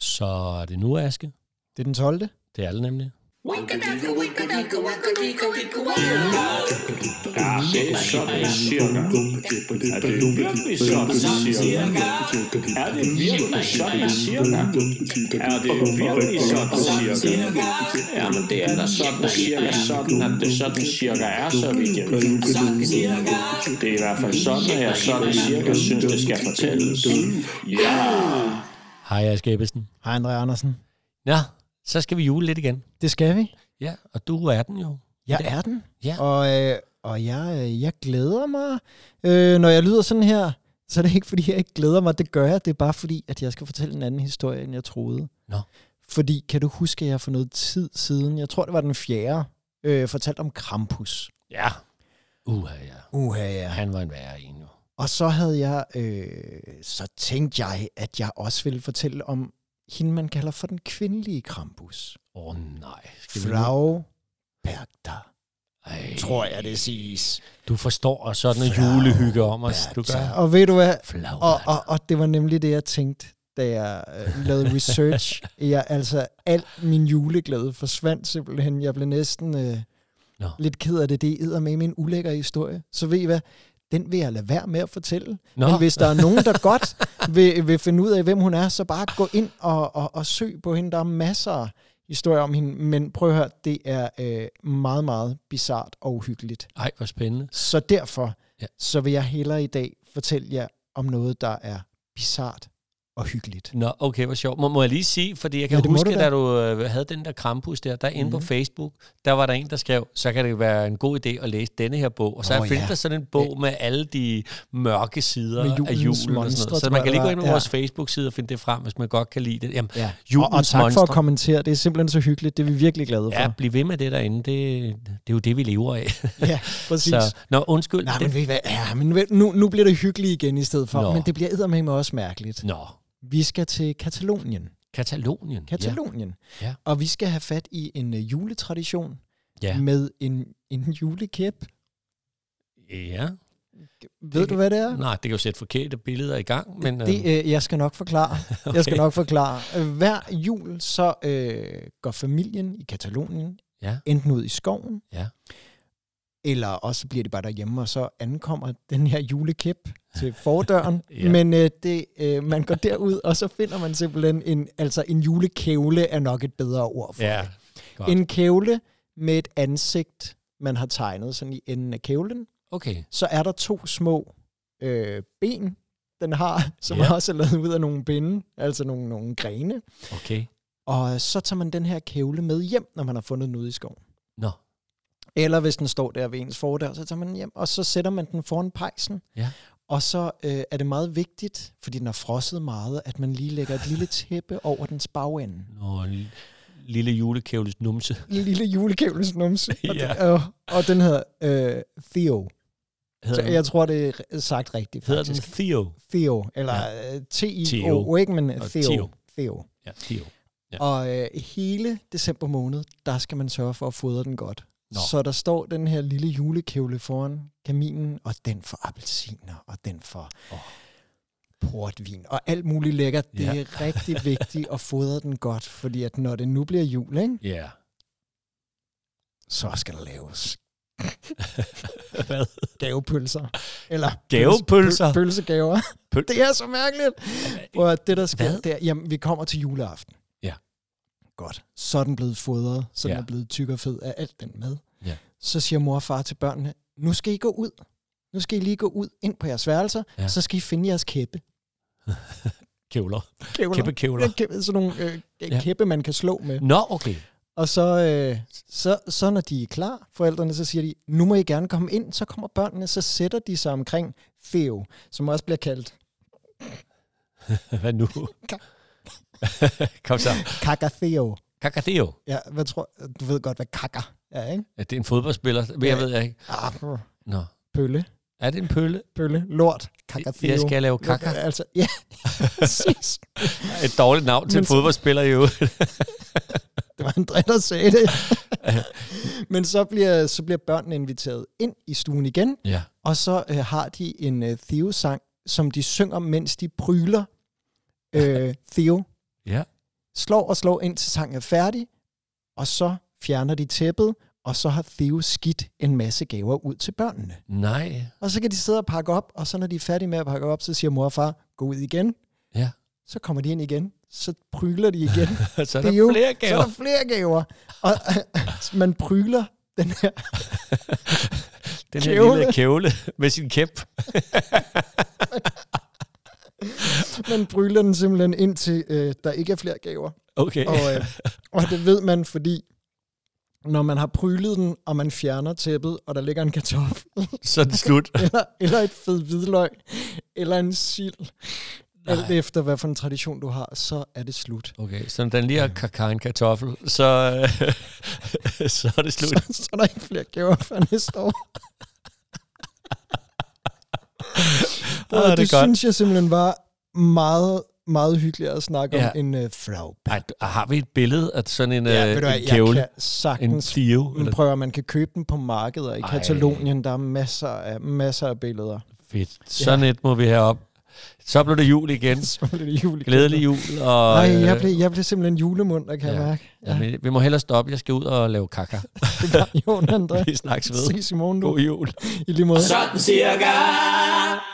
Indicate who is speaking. Speaker 1: Så er det nu, Aske.
Speaker 2: Det er den 12.
Speaker 1: Det er alle nemlig.
Speaker 3: Ah, Det er sådan cirka. Er det virkelig sådan cirka? Er det virkelig sådan cirka? Er det virkelig sådan cirka? Ja, men det er da sådan cirka sådan, at det sådan cirka er, så vidt jeg ved. Det er i hvert fald sådan, at jeg sådan cirka synes, det skal fortælles. Ja!
Speaker 1: Hej, Aske Ebbesen.
Speaker 2: Hej, André Andersen.
Speaker 1: Ja, så skal vi jule lidt igen.
Speaker 2: Det skal vi.
Speaker 1: Ja, og du er den jo.
Speaker 2: Jeg er den.
Speaker 1: Ja.
Speaker 2: Og, øh, og jeg, øh, jeg glæder mig. Øh, når jeg lyder sådan her, så er det ikke, fordi jeg ikke glæder mig. Det gør jeg. Det er bare fordi, at jeg skal fortælle en anden historie, end jeg troede.
Speaker 1: Nå.
Speaker 2: Fordi, kan du huske, at jeg for noget tid siden, jeg tror, det var den fjerde, øh, fortalte om Krampus.
Speaker 1: Ja. Uha, ja.
Speaker 2: Uha, ja.
Speaker 1: Han var en værre en jo.
Speaker 2: Og så havde jeg, øh, så tænkte jeg, at jeg også ville fortælle om hende, man kalder for den kvindelige Krampus.
Speaker 1: Åh oh, nej. Skal vi nu-
Speaker 2: Frau Bergter,
Speaker 1: Ej,
Speaker 2: tror jeg det siges.
Speaker 1: du forstår sådan en
Speaker 2: Flau,
Speaker 1: julehygge om os. Du gør.
Speaker 2: Bergter. Og ved du hvad?
Speaker 1: Flau,
Speaker 2: Og, og, og det var nemlig det, jeg tænkte, da jeg øh, lavede research. jeg, altså, al min juleglæde forsvandt simpelthen. Jeg blev næsten øh,
Speaker 1: Nå.
Speaker 2: lidt ked af det. Det er med en ulækker historie. Så ved I hvad? Den vil jeg lade være med at fortælle.
Speaker 1: Nå.
Speaker 2: Men hvis der er nogen, der godt vil, vil finde ud af, hvem hun er, så bare gå ind og, og, og søg på hende. Der er masser af historier om hende. Men prøv at høre, det er øh, meget, meget bizart og uhyggeligt.
Speaker 1: Ej, hvor spændende.
Speaker 2: Så derfor,
Speaker 1: Ja.
Speaker 2: ja. så vil jeg hellere i dag fortælle jer om noget, der er bizart og hyggeligt.
Speaker 1: Nå, okay, hvor sjovt. Må, må jeg lige sige, fordi jeg kan
Speaker 2: Ja, det må
Speaker 1: huske,
Speaker 2: du da.
Speaker 1: da
Speaker 2: Mhm.
Speaker 1: du øh, havde den der krampus der, der inde mm. på Facebook, der var der en, der skrev, så kan det være en god idé at læse denne her bog. Og så
Speaker 2: Åh,
Speaker 1: oh, findes
Speaker 2: ja.
Speaker 1: der sådan en bog med alle de mørke sider
Speaker 2: Med
Speaker 1: af
Speaker 2: julens
Speaker 1: julen. og sådan noget.
Speaker 2: monstre,
Speaker 1: Så
Speaker 2: tror
Speaker 1: man
Speaker 2: jeg,
Speaker 1: kan lige gå
Speaker 2: det
Speaker 1: ind på
Speaker 2: var.
Speaker 1: vores Facebook-side og finde det frem, hvis man godt kan lide det. Jamen,
Speaker 2: Ja. Og,
Speaker 1: julens
Speaker 2: og tak for
Speaker 1: monstre.
Speaker 2: at kommentere. Det er simpelthen så hyggeligt. Det er vi virkelig glade for.
Speaker 1: ja, bliv ved med det derinde. Det, det er jo det, vi lever af.
Speaker 2: ja præcis.
Speaker 1: så,
Speaker 2: Så.
Speaker 1: nå, undskyld.
Speaker 2: Nej,
Speaker 1: det,
Speaker 2: men, ved I hvad? ja, men ved- nu, nu bliver det hyggeligt igen i stedet for,
Speaker 1: Nå.
Speaker 2: Nå. men det bliver eddermame også mærkeligt.
Speaker 1: Nå,
Speaker 2: Vi skal til Katalonien.
Speaker 1: Katalonien.
Speaker 2: Katalonien.
Speaker 1: Ja.
Speaker 2: Og vi skal have fat i en uh, juletradition
Speaker 1: Ja. ja.
Speaker 2: med en, en julekæp.
Speaker 1: ja.
Speaker 2: Ved du, hvad det er?
Speaker 1: Nej, det kan jo sætte forkerte billeder i gang, men... øh,
Speaker 2: Det, øh, jeg skal nok forklare. okay. Jeg skal nok forklare. Øh, Hver jul så øh, går familien i Katalonien
Speaker 1: Ja.
Speaker 2: enten ud i skoven,
Speaker 1: Ja.
Speaker 2: eller også bliver det bare derhjemme, og så ankommer den her julekæp til fordøren.
Speaker 1: Ja.
Speaker 2: ja. Men øh, det, øh, man går derud, og så finder man simpelthen en, altså en julekævle er nok et bedre ord for
Speaker 1: ja.
Speaker 2: det.
Speaker 1: godt.
Speaker 2: En kævle med et ansigt, man har tegnet sådan i enden af kævlen
Speaker 1: Okay.
Speaker 2: så er der to små øh, ben, den har, som
Speaker 1: Ja.
Speaker 2: ja. også er lavet ud af nogle binde, altså nogle, nogle grene.
Speaker 1: Okay.
Speaker 2: Og så tager man den her kævle med hjem, når man har fundet den ude i skoven.
Speaker 1: Nå.
Speaker 2: Eller hvis den står der ved ens fordør, så tager man den hjem, og så sætter man den foran pejsen.
Speaker 1: Ja.
Speaker 2: Og så øh, er det meget vigtigt, fordi den har frosset meget, at man lige lægger et lille tæppe over dens bagende.
Speaker 1: Nå, en lille julekævles numse.
Speaker 2: En llille julekævles numse. Og,
Speaker 1: Ja.
Speaker 2: den, øh, og den hedder øh, Theo. Så
Speaker 1: Hedder, den,
Speaker 2: jeg tror, det er sagt rigtigt.
Speaker 1: hedder
Speaker 2: faktisk.
Speaker 1: den Theo?
Speaker 2: Theo, eller øh, ja.
Speaker 1: Theo.
Speaker 2: T-I-O, ikke, men
Speaker 1: Og
Speaker 2: Theo.
Speaker 1: Theo.
Speaker 2: Theo. Theo.
Speaker 1: Ja, Theo. Ja.
Speaker 2: Ja. Og øh, hele december måned, der skal man sørge for at fodre den godt.
Speaker 1: Nå.
Speaker 2: Nå. Så der står den her lille julekævle foran kaminen, og den for appelsiner, og den for
Speaker 1: Åh.
Speaker 2: oh. portvin, og alt muligt lækkert. Det
Speaker 1: Ja.
Speaker 2: er rigtig vigtigt at fodre den godt, fordi at når det nu bliver jul, ikke,
Speaker 1: Ja.
Speaker 2: så skal der laves
Speaker 1: Hvad?
Speaker 2: gavepølser. Eller
Speaker 1: Gavepølser?
Speaker 2: pøl- Pølsegaver.
Speaker 1: Pøl-
Speaker 2: Det er så mærkeligt. Og det, der sker,
Speaker 1: Hvad?
Speaker 2: Hvad? det er, jamen, vi kommer til juleaften.
Speaker 1: Ja.
Speaker 2: Godt. Så er den blevet fodret, så den
Speaker 1: Ja.
Speaker 2: er blevet tyk og fed af alt den mad.
Speaker 1: Ja.
Speaker 2: Så siger mor og far til børnene, nu skal I gå ud. Nu skal I lige gå ud ind på jeres værelser,
Speaker 1: Ja.
Speaker 2: ja. så skal I finde jeres kæppe.
Speaker 1: Kævler.
Speaker 2: Kævler.
Speaker 1: Kæppe kævler.
Speaker 2: Ja, kæppe sådan nogle øh,
Speaker 1: Ja. Mm.
Speaker 2: ja. kæppe, man kan slå med.
Speaker 1: Nå, okay.
Speaker 2: Og så, øh, så, så når de er klar, forældrene, så siger de, nu må I gerne komme ind. Så kommer børnene, så sætter de sig omkring Feo, som også bliver kaldt
Speaker 1: Hvad nu? Kom så.
Speaker 2: Kakafeo.
Speaker 1: Kakadeo.
Speaker 2: Ja, hvad tror, du ved godt, hvad kaka er, ikke?
Speaker 1: Ja, det er en fodboldspiller. Mere
Speaker 2: Ja.
Speaker 1: ved jeg ikke.
Speaker 2: Arr,
Speaker 1: Nå.
Speaker 2: Ah, pølle,
Speaker 1: Er det en pølle?
Speaker 2: pølle, lort, kakafeo.
Speaker 1: Jeg skal lave kaka.
Speaker 2: Altså, ja, præcis.
Speaker 1: Et dårligt navn til en
Speaker 2: Men-
Speaker 1: fodboldspiller jo.
Speaker 2: Det var André, der sagde det. Men så bliver, så bliver børnene inviteret ind i stuen igen,
Speaker 1: Ja.
Speaker 2: og så øh, har de en øh, Theo-sang, som de synger, mens de pryler øh, Theo.
Speaker 1: Ja.
Speaker 2: slår og slår ind til sangen er færdig, og så fjerner de tæppet, og så har Theo skidt en masse gaver ud til børnene.
Speaker 1: Nej.
Speaker 2: Og så kan de sidde og pakke op, og så når de er færdige med at pakke op, så siger mor og far, gå ud igen.
Speaker 1: Ja.
Speaker 2: Så kommer de ind igen, så pryler de igen.
Speaker 1: Så er
Speaker 2: Det er jo-
Speaker 1: der flere
Speaker 2: så er
Speaker 1: gaver.
Speaker 2: der flere gaver. Og man pryler den her
Speaker 1: Den her
Speaker 2: kævle.
Speaker 1: lille kævle med sin kæp.
Speaker 2: Man bryller den simpelthen indtil øh, der ikke er flere gaver.
Speaker 1: Okay.
Speaker 2: Og, øh, og det ved man, fordi når man har prylet den, og man fjerner tæppet, og der ligger en kartoffel,
Speaker 1: Så er det slut.
Speaker 2: eller, eller et fed hvidløg, eller en sild, alt efter hvad for en tradition du har, så er det slut.
Speaker 1: Okay, så når den lige har kakar en kartoffel, så, øh, så er det slut.
Speaker 2: Så, så er der ikke flere gaver for næste år.
Speaker 1: Åh,
Speaker 2: Og
Speaker 1: Ah, det er
Speaker 2: det
Speaker 1: godt.
Speaker 2: synes jeg simpelthen var meget, meget hyggeligere at snakke
Speaker 1: Ja.
Speaker 2: om en øh, flagp.
Speaker 1: Ej, du- har vi et billede af sådan en,
Speaker 2: Ja,
Speaker 1: ja,
Speaker 2: ved
Speaker 1: øh,
Speaker 2: du hvad,
Speaker 1: en
Speaker 2: jeg
Speaker 1: kævle?
Speaker 2: kan
Speaker 1: En
Speaker 2: sagtens
Speaker 1: dio?
Speaker 2: Men
Speaker 1: Eller?
Speaker 2: prøv at man kan købe den på markeder i
Speaker 1: Ej.
Speaker 2: Katalonien. Der er masser af, masser af billeder.
Speaker 1: Fedt. Sådan et må vi have op. Så blev det jul igen.
Speaker 2: Så blev det jul. igen.
Speaker 1: Glædelig jul. Og,
Speaker 2: Ej, jeg
Speaker 1: øh,
Speaker 2: blev, jeg blev simpelthen julemund, kan jeg
Speaker 1: Ja.
Speaker 2: mærke. Ja,
Speaker 1: Jamen, vi må hellere stoppe. Jeg skal ud og lave kakka.
Speaker 2: det var Jon André.
Speaker 1: Vi snakkes ved.
Speaker 2: Ses i morgen nu.
Speaker 1: God jul.
Speaker 2: I lige måde.
Speaker 3: Sådan cirka.